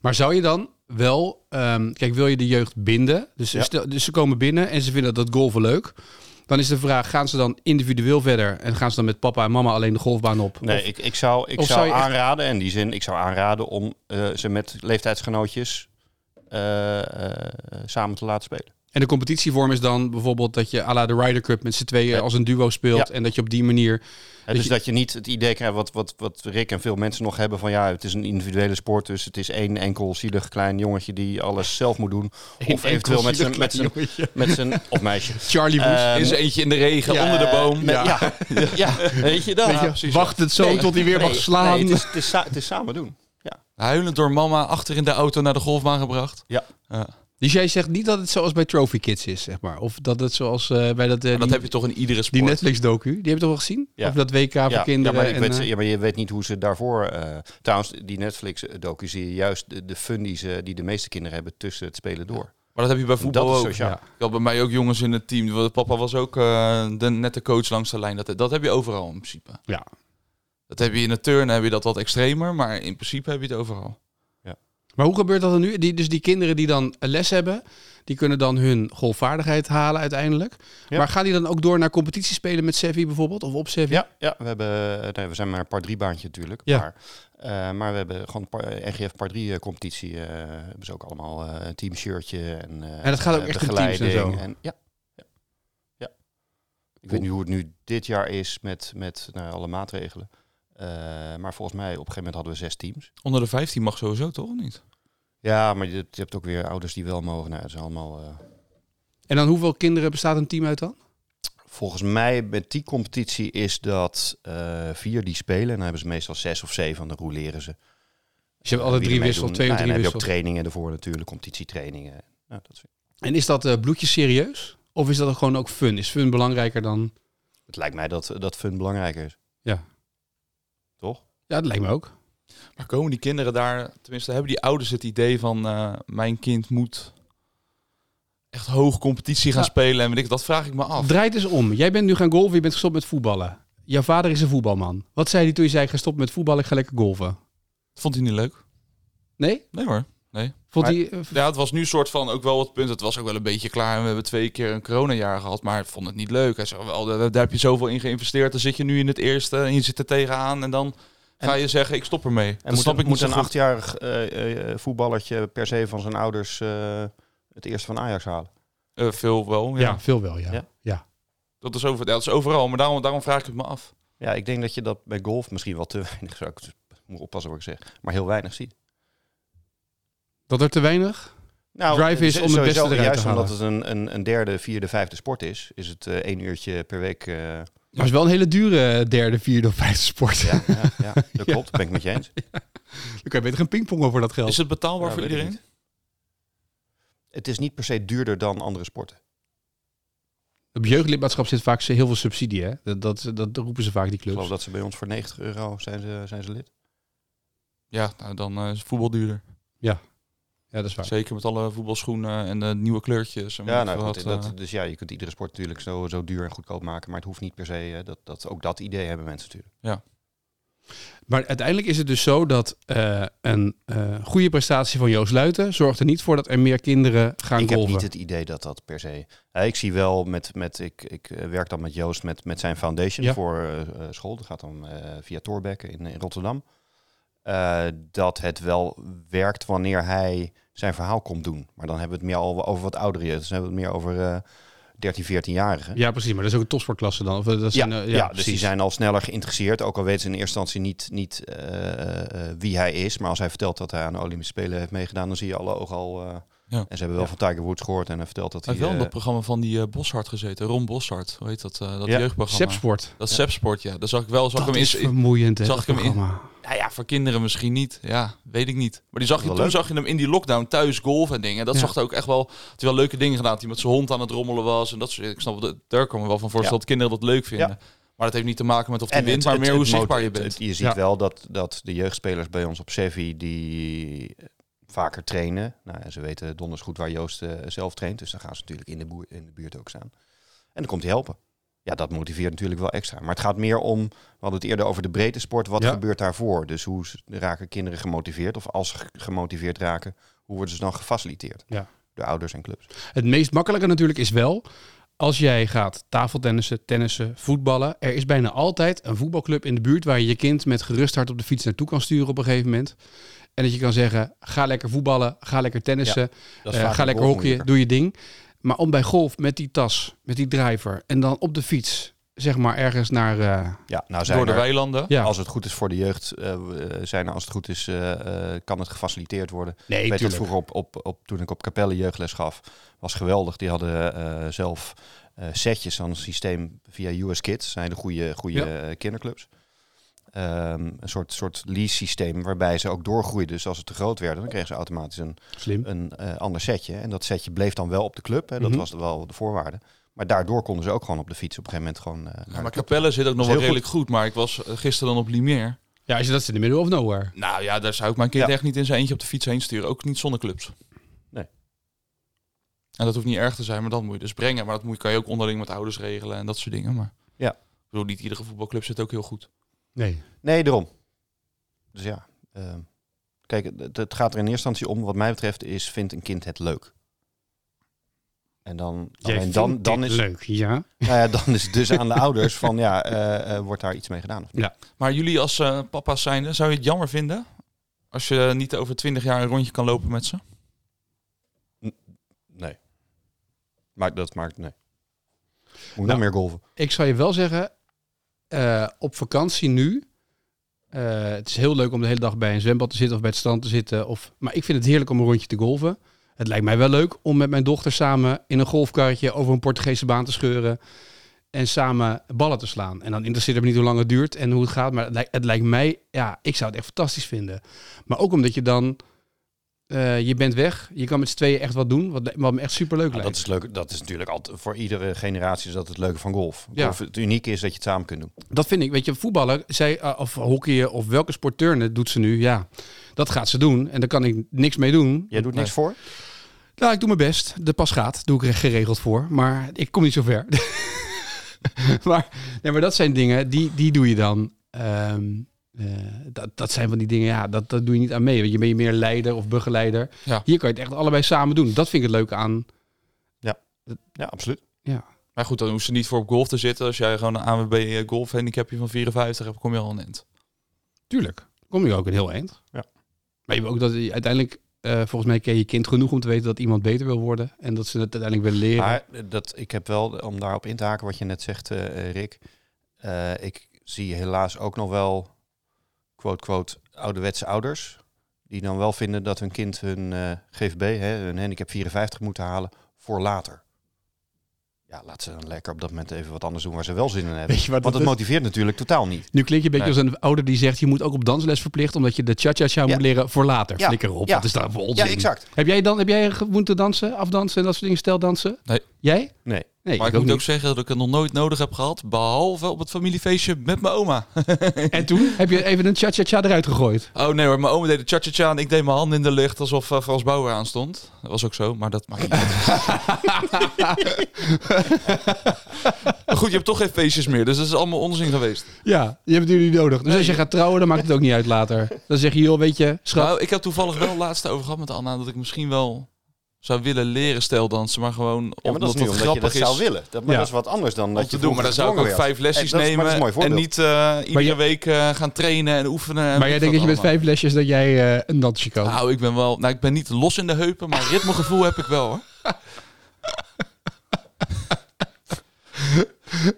Maar zou je dan wel, ehm, kijk, wil je de jeugd binden? Dus,
Ja.
stel- dus ze komen binnen en ze vinden dat golven leuk. Dan is de vraag, gaan ze dan individueel verder en gaan ze dan met papa en mama alleen de golfbaan op?
Nee,
Of-
ik, ik zou, ik
of zou
zou
je echt-
aanraden, in die zin, ik zou aanraden om eh, ze met leeftijdsgenootjes eh, eh, samen te laten spelen.
en de competitievorm is dan bijvoorbeeld dat je à la de Ryder Cup met z'n tweeën
Ja.
als een duo speelt.
Ja.
En dat je op die manier,
Hè,
Dat
dus
je-
dat je niet het idee krijgt wat, wat, wat Rick en veel mensen nog hebben van ja, het is een individuele sport, dus het is één enkel zielig klein jongetje die alles zelf moet doen. of eventueel met zijn, met zijn, met zijn, of meisje.
Charlie Woods.
Ehm,
In zijn eentje in de regen,
ja,
onder de boom.
met- ja. Ja. weet je dat?
Weet je, wacht het zo tot hij weer mag slaan.
het, is, het, is sa- het is samen doen.
Huilend door mama, achter in de auto naar de golfbaan gebracht.
Ja.
Ja.
dus jij zegt niet dat het zoals bij Trophy Kids is, zeg maar. Of dat het zoals eh, bij dat, eh,
En dat
die,
heb je toch in iedere
die
sport.
Netflix-docu. Die heb je toch wel gezien?
Ja.
Of dat WK voor kinderen.
Ja maar, ik
en,
weet,
eh,
ja, maar je weet niet hoe ze daarvoor... eh, trouwens, die Netflix-docu zie je juist de, de fun die, ze, die de meeste kinderen hebben tussen het spelen door.
Maar dat heb je bij voetbal
dat is
ook.
sociaal.
ja.
Ik had bij mij ook jongens in het team. Want Papa was ook eh, de, net de coach langs de lijn. Dat, dat heb je overal in principe.
Ja.
Dat heb je in de turn, heb je dat wat extremer. Maar in principe heb je het overal.
Maar hoe gebeurt dat dan nu? Die, dus die kinderen die dan les hebben, die kunnen dan hun golfvaardigheid halen uiteindelijk.
Ja.
Maar gaan die dan ook door naar competitie spelen met Sevi bijvoorbeeld? Of op Sevi?
Ja, ja we, hebben, eh, nee, we zijn maar een par 3 baantje natuurlijk.
Ja.
Maar, eh, maar we hebben gewoon par, eh, RGF par 3 eh, competitie. eh, hebben ze ook allemaal eh, een teamshirtje. En, eh,
En dat gaat ook
eh,
echt in teams en
begeleiding
zo?
ja. ja. ja. Ik weet niet hoe het nu dit jaar is met, met nou, alle maatregelen. Eh, maar volgens mij op een gegeven moment hadden we zes teams.
Onder de 15 mag sowieso toch of niet?
Ja, maar je, je hebt ook weer ouders die wel mogen. Nou, het is allemaal... eh,
En dan hoeveel kinderen bestaat een team uit dan?
Volgens mij met die competitie is dat eh, vier die spelen. En dan hebben ze meestal zes of zeven. En dan roleren ze.
Dus je hebt alle
Wie
drie
ermee
wissel,
doen.
twee of
Nou, en
drie
dan heb je
wissel.
ook trainingen ervoor natuurlijk. Competitietrainingen. Nou, dat is,
En is dat eh bloedje serieus? Of is dat ook gewoon ook fun? Is fun belangrijker dan...
het lijkt mij dat, dat fun belangrijker is.
Ja, dat lijkt me ook.
Maar komen die kinderen daar... Tenminste, hebben die ouders het idee van... eh, mijn kind moet echt hoog competitie gaan
Ja.
spelen. En weet ik, dat vraag ik me af.
Draait eens om. Jij bent nu gaan golven, je bent gestopt met voetballen. Jouw vader is een voetbalman. Wat zei hij toen je zei, ga stoppen met voetballen, ik ga lekker golven?
Vond hij niet leuk?
Nee?
Nee hoor.
Vond
Maar-
hij... eh, v-
Ja, het was nu soort van ook wel het punt. Het was ook wel een beetje klaar. En we hebben twee keer een coronajaar gehad. Maar ik vond het niet leuk. Hij zei wel, daar, daar heb je zoveel in geïnvesteerd. Dan zit je nu in het eerste en je zit er tegenaan. En dan ga je zeggen, ik stop ermee. En dat
En moet,
snap
een-
ik
moet
niet
een
zo goed.
achtjarig eh, eh, voetballertje per se van zijn ouders eh, het eerste van Ajax halen?
Eh, veel wel, ja.
ja, veel wel, ja.
Ja.
ja.
Dat is, over, ja, dat is overal, maar daarom, daarom vraag ik het me af.
Ja, ik denk dat je dat bij golf misschien wel te weinig zou ik moet oppassen wat ik zeg, maar heel weinig ziet.
Dat er te weinig?
Nou,
Drive is
z-
om het
sowieso,
beste eruit
Juist
te halen.
omdat het een, een, een derde, vierde, vijfde sport is, is het eh één uurtje per week. eh,
Maar het is wel een hele dure eh, derde, vierde of vijfde sport.
ja, ja, ja, dat klopt, ben ik met je eens.
Dan kan je beter gaan pingpongen voor dat geld.
Is het betaalbaar
Ja,
voor
weet ik
iedereen?
niet. Het is niet per se duurder dan andere sporten.
Op jeugdlidmaatschap zit vaak heel veel subsidie, hè? Dat, dat, dat roepen ze vaak, die
Ik
clubs.
geloof dat ze bij ons voor 90 euro zijn ze, zijn ze lid.
Ja, nou, dan eh, is voetbal duurder.
Ja, dat is waar.
Zeker met alle voetbalschoenen en de nieuwe kleurtjes. En
Ja,
weet
nou,
ik
goed,
veel wat, eh.
dat, dus ja, je kunt iedere sport natuurlijk zo, zo duur en goedkoop maken. Maar het hoeft niet per se, eh, dat, dat, ook dat idee hebben mensen natuurlijk.
Maar uiteindelijk is het dus zo dat eh, een eh, goede prestatie van Joost Luiten zorgt er niet voor dat er meer kinderen gaan
ik
golven.
heb niet het idee dat dat per se. Ja, ik zie wel met, met ik, ik eh, werk dan met Joost met, met zijn foundation
Ja.
voor eh, eh, school. Dat gaat dan eh, via Torbekke in, in Rotterdam. Eh, dat het wel werkt wanneer hij zijn verhaal komt doen. Maar dan hebben we het meer al over wat oudere jeugd. Dan hebben we het meer over eh 13, 14-jarigen.
Ja, precies. Maar dat is ook een topsportklasse dan. Of, eh, dat is
eh, Ja,
een, eh,
ja, dus die
precies.
zijn al sneller geïnteresseerd. Ook al weten ze in eerste instantie niet, niet eh, eh, wie hij is. Maar als hij vertelt dat hij aan de Olympische Spelen heeft meegedaan, dan zie je alle ogen al. eh,
Ja.
En ze hebben wel van Tiger Woods gehoord en hij vertelt dat
Hij
hij.
heeft wel in
eh,
dat programma van die eh, Boshart gezeten. Ron Boshart, hoe heet dat? eh, dat
Ja,
jeugdprogramma.
Sepsport.
Dat Sepsport, ja. Daar zag ik wel. Zag
Dat
ik hem
is
in, in-
vermoeiend, hè,
zag
dat
ik hem in-
programma.
nou ja, voor kinderen misschien niet. Ja, weet ik niet. Maar die zag je,
Wel
toen
leuk.
zag je hem in die lockdown thuis golf en dingen. Dat
Ja.
zag er ook echt wel. Had hij wel leuke dingen gedaan. Dat hij met zijn hond aan het rommelen was. En dat soort Ik snap dat daar komen we wel van voor.
Ja.
Dat kinderen dat leuk vinden. Maar dat heeft niet te maken met of je
het-
wint, maar
het-
meer
het
hoe
mot-
zichtbaar je
het-
bent.
het- je ziet
Ja.
wel dat, dat de jeugdspelers bij ons op Sevi die eh, vaker trainen. Nou, en ze weten donders goed waar Joost eh, zelf traint. Dus dan gaan ze natuurlijk in de, boer, in de buurt ook staan. En dan komt hij helpen. Ja, dat motiveert natuurlijk wel extra. Maar het gaat meer om, we hadden het eerder over de breedte sport. Wat
Ja.
gebeurt daarvoor? Dus hoe s- raken kinderen gemotiveerd? Of als ze ge- gemotiveerd raken, hoe worden ze dan gefaciliteerd?
Ja.
Door ouders en clubs.
Het meest makkelijke natuurlijk is wel, als jij gaat tafeltennissen, tennissen, voetballen, er is bijna altijd een voetbalclub in de buurt waar je je kind met gerust hart op de fiets naartoe kan sturen op een gegeven moment. En dat je kan zeggen, ga lekker voetballen, ga lekker tennissen,
Dat
eh,
vaak
ga
een
lekker
golf
hockeyen,
moeilijker.
doe je ding. Maar om bij golf met die tas, met die driver en dan op de fiets, zeg maar ergens naar... eh,
Ja, nou zijn
Door de
er-
weilanden.
ja,
Als het goed is voor de jeugd, eh, w- eh, zijn er, als het goed is, eh, eh, kan het gefaciliteerd worden.
nee,
Ik weet dat
tuurlijk.
vroeger op, op, op, toen ik op Capelle jeugdles gaf, was geweldig. Die hadden eh, zelf eh, setjes aan een systeem via US Kids. zijn de goede, goede eh, kinderclubs. Ehm, een soort, soort lease systeem waarbij ze ook doorgroeiden. Dus als ze te groot werden, dan kregen ze automatisch een,
Slim.
een eh, ander setje. En dat setje bleef dan wel op de club. Hè. Dat
Mhm.
was wel de voorwaarde. Maar daardoor konden ze ook gewoon op de fiets op een gegeven moment gewoon... eh, naar
Ja, maar
de club.
Capelle zit ook nog wel
Dat is heel
redelijk goed. Maar ik was eh, gisteren dan op Limeer.
Ja, als je dat is in de middle of nowhere.
Nou ja, daar zou ik mijn kind
Ja.
echt niet in zijn eentje op de fiets heen sturen. Ook niet zonder clubs.
Nee.
En dat hoeft niet erg te zijn, maar dat moet je dus brengen. Maar dat moet, kan je ook onderling met ouders regelen en dat soort dingen. Maar
Ja.
ik bedoel, niet iedere voetbalclub zit ook heel goed.
Nee.
Nee, daarom. Dus ja. ehm, kijk, het, het gaat er in eerste instantie om, wat mij betreft, is vindt een kind het leuk. En dan, alleen dan, dan, is,
leuk, ja.
nou ja, dan is het dus aan de ouders van, ja, eh, eh, wordt daar iets mee gedaan? Of niet?
Maar jullie als eh, papa's zijnde, zou je het jammer vinden als je niet over twintig jaar een rondje kan lopen met ze?
Nee. Maar dat maakt, nee. Moet ik nog
Nou.
meer golven?
Ik zou je wel zeggen, eh, op vakantie nu. eh, het is heel leuk om de hele dag bij een zwembad te zitten of bij het strand te zitten. Of, maar ik vind het heerlijk om een rondje te golven. Het lijkt mij wel leuk om met mijn dochter samen in een golfkarretje over een Portugese baan te scheuren. En samen ballen te slaan. En dan interesseert het me niet hoe lang het duurt en hoe het gaat. Maar het lijkt, het lijkt mij, ja, ik zou het echt fantastisch vinden. Maar ook omdat je dan, eh, je bent weg. Je kan met z'n tweeën echt wat doen. Wat, wat me echt superleuk
Nou,
lijkt.
dat is leuk. Dat is natuurlijk altijd, voor iedere generatie is dat het leuke van golf.
Ja.
golf het unieke is dat je het samen kunt doen.
Dat vind ik. Weet je, voetballer, zij, eh, of hockeyen, of welke sportturnen doet ze nu? Ja, dat gaat ze doen. En daar kan ik niks mee doen.
Jij doet niks voor?
Nou, ik doe mijn best. De pas gaat. Doe ik er geregeld voor. Maar ik kom niet zo ver. maar, nee, maar dat zijn dingen, die, die doe je dan. Ehm, eh, dat, dat zijn van die dingen, ja, dat, dat doe je niet aan mee. Want je bent meer leider of begeleider.
Ja.
Hier kan je het echt allebei samen doen. Dat vind ik het leuke aan.
Ja, absoluut.
Maar goed, dan hoeft ze niet voor op golf te zitten. Als jij gewoon een AWB golf handicapje van 54 hebt, kom je al een end.
Tuurlijk. Kom je ook een heel eind.
Ja.
Maar je hebt ook dat je uiteindelijk eh, volgens mij ken je kind genoeg om te weten dat iemand beter wil worden. En dat ze het uiteindelijk willen leren.
Maar eh, dat, ik heb wel, om daarop in te haken wat je net zegt, eh, eh, Rick. eh, ik zie helaas ook nog wel, quote, quote, ouderwetse ouders. Die dan wel vinden dat hun kind hun eh, GVB, hè, hun handicap 54, moeten halen voor later. Ja, laat ze dan lekker op dat moment even wat anders doen waar ze wel zin in hebben.
Weet je wat
Want
dat
eh, het
is?
motiveert natuurlijk totaal niet.
Nu klink je een beetje
Nee.
als een ouder die zegt... je moet ook op dansles verplicht... omdat je de cha-cha-cha
Ja.
moet leren voor later.
Ja.
Flikker op,
Ja.
dat is daar voor
Ja,
onzin.
exact.
Heb jij, dan, heb jij moeten dansen, afdansen en dat soort dingen? Stel dansen?
Nee.
Jij?
Nee.
Nee,
Maar ik,
ik ook
moet ook
niet.
zeggen dat ik het nog nooit nodig heb gehad, behalve op het familiefeestje met mijn oma.
En toen heb je even een cha-cha-cha eruit gegooid.
Oh nee hoor, mijn oma deed de cha-cha-cha en ik deed mijn hand in de lucht alsof eh, Frans Bauer aan stond. Dat was ook zo, maar dat maakt niet uit. Maar goed, je hebt toch geen feestjes meer, dus dat is allemaal onzin geweest.
Ja, je hebt jullie nodig. Dus als je gaat trouwen, dan maakt het ook niet uit later. Dan zeg je, joh, weet je, schat...
Nou, ik heb toevallig wel laatst over gehad met Anna dat ik misschien wel zou willen leren steldansen, maar gewoon
Ja, maar dat
omdat
is nu
het
omdat je
grappig
dat
is.
zou willen. Dat, maar
Ja.
dat is wat anders dan
om
dat je
te doen, maar dan zou ik ook vijf lessjes nemen en niet eh, iedere
je-
week eh, gaan trainen en oefenen. en
maar jij
weet
denkt dat je
wat
met vijf lesjes dat jij eh, een dansje kan.
allemaal. Nou, ik ben wel, nou, ik ben niet los in de heupen, maar ritmegevoel heb ik wel hoor.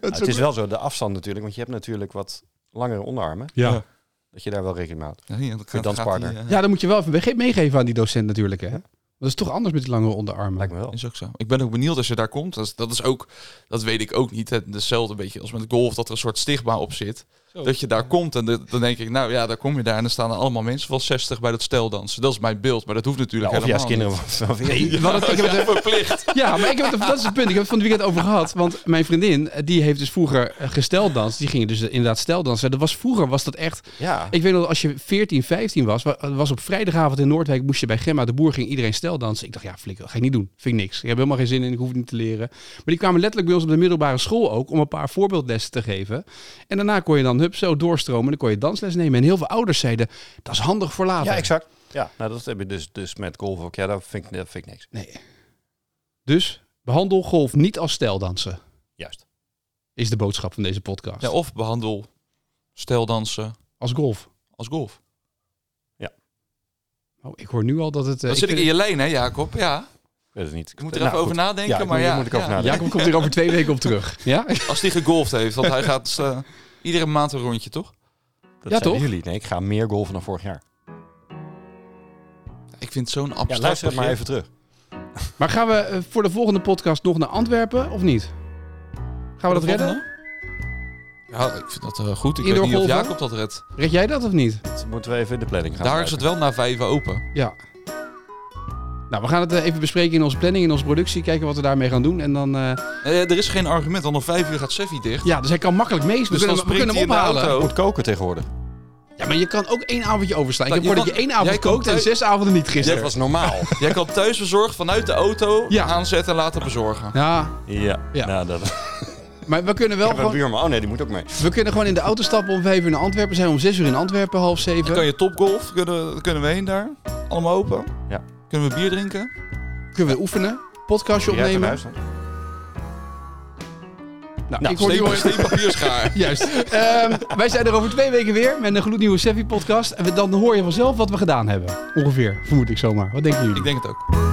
het is wel zo, de afstand natuurlijk. Want je hebt natuurlijk wat langere onderarmen.
ja.
Dat je daar wel rekening mee houdt.
Ja, ja, dat gaat-
danspartner.
gaat die, eh,
Ja, dan moet je wel even mee- meegeven aan die docent natuurlijk, hè? Dat is toch anders met die lange onderarmen.
Lijkt me wel.
Is ook zo. Ik ben ook benieuwd als je daar komt. Dat is, dat is ook, dat weet ik ook niet. hè. Hetzelfde beetje als met golf, dat er een soort stigma op zit. Dat je daar komt en de- dan denk ik, nou ja, daar kom je daar en dan staan er allemaal mensen van 60 bij dat steldansen. Dat is mijn beeld, maar dat hoeft natuurlijk
of juist
helemaal
kinderen van
Nee, want het- ik heb
niet.
het er-
Ja, verplicht.
Ja, maar ik heb het, dat is het punt. Ik heb het van het weekend over gehad. Want mijn vriendin, eh, die heeft dus vroeger eh, gesteldans. Die ging dus inderdaad steldansen. Dat was, vroeger was dat echt...
Ja.
Ik weet nog, als je 14, 15 was... wa- was op vrijdagavond in Noordwijk... moest je bij Gemma de Boer, ging iedereen steldansen. Ik dacht, ja, flikker, dat ga ik niet doen. Vind ik niks. Ik heb helemaal geen zin in, ik hoef het niet te leren. Maar die kwamen letterlijk bij ons op de middelbare school ook... om een paar voorbeeldlessen te geven. En daarna kon je dan, hup, zo doorstromen. En dan kon je dansles nemen. En heel veel ouders zeiden, dat is handig voor later.
ja, exact. Ja, nou dat heb je dus, dus met golf ook. Ja, dat vind ik, dat vind ik niks.
Nee. Dus behandel golf niet als steldansen,
Juist.
is de boodschap van deze podcast.
Ja, of behandel steldansen
als golf.
als golf.
Oh, ik hoor nu al dat het... eh,
Dat zit ik in
vind-
je lijn, hè Jacob? Ja,
Ik weet het niet.
ik moet er even over nadenken.
Nou, Ja, ik
maar
moet-
ja,
moet ik over
ja.
nadenken.
Jacob komt er over twee weken op terug. Ja?
Als die gegolfd heeft, want hij gaat eh, iedere maand een rondje, toch?
Dat
Ja,
zijn
toch?
jullie. Nee, ik ga meer golven dan vorig jaar.
Ik vind het zo'n
Ja,
abstract
luister maar
begrip.
even terug.
Maar gaan we eh, voor de volgende podcast nog naar Antwerpen of niet? Gaan we dat redden?
Ja, ik vind dat eh, goed. Ik
Indoor
weet niet of
golven?
Jacob dat redt.
Red jij dat of niet?
Dat moeten we even in de planning gaan.
Daar is het wel na vijf open.
Ja. Nou, we gaan het eh, even bespreken in onze planning, in onze productie. Kijken wat we daarmee gaan doen. En dan... eh,
Eh, er is geen argument, want om vijf uur gaat Seffi dicht.
ja, dus hij kan makkelijk mee. We
Dus
kunnen,
dan
hem- we kunnen
springt hij
hem
in de
ophalen.
auto.
Moet koken tegenwoordig.
Ja, maar je kan ook één avondje overslaan. Ik
Nou,
heb gehoord
je
dat je één
kan-
avond
jij kan
kookt en
thuis-
zes avonden niet
Dat
gisteren.
was normaal.
Jij kan thuisbezorgd vanuit de auto
Ja.
aanzetten en laten bezorgen.
Ja,
ja.
Ja.
Nou, dat... Ik
maar we kunnen wel
heb een
gewoon...
buurman. Oh nee, die moet ook mee.
We kunnen gewoon in de auto stappen om vijf uur naar Antwerpen. Zijn we om zes uur in Antwerpen, half
Dan kan
zeven.
je topgolf, kunnen, kunnen we heen daar. Allemaal open.
Ja.
Kunnen we bier drinken.
Kunnen we oefenen, podcastje
Jij uit
opnemen.
huis dan?
Nou,
Nou,
ik hoor nu
Steen,
al...
steen papier, schaar.
Juist. Ehm, wij zijn er over twee weken weer met een gloednieuwe Seffi podcast. En we- dan hoor je vanzelf wat we gedaan hebben. Ongeveer, vermoed ik zomaar. Wat denken jullie?
Ik denk het ook.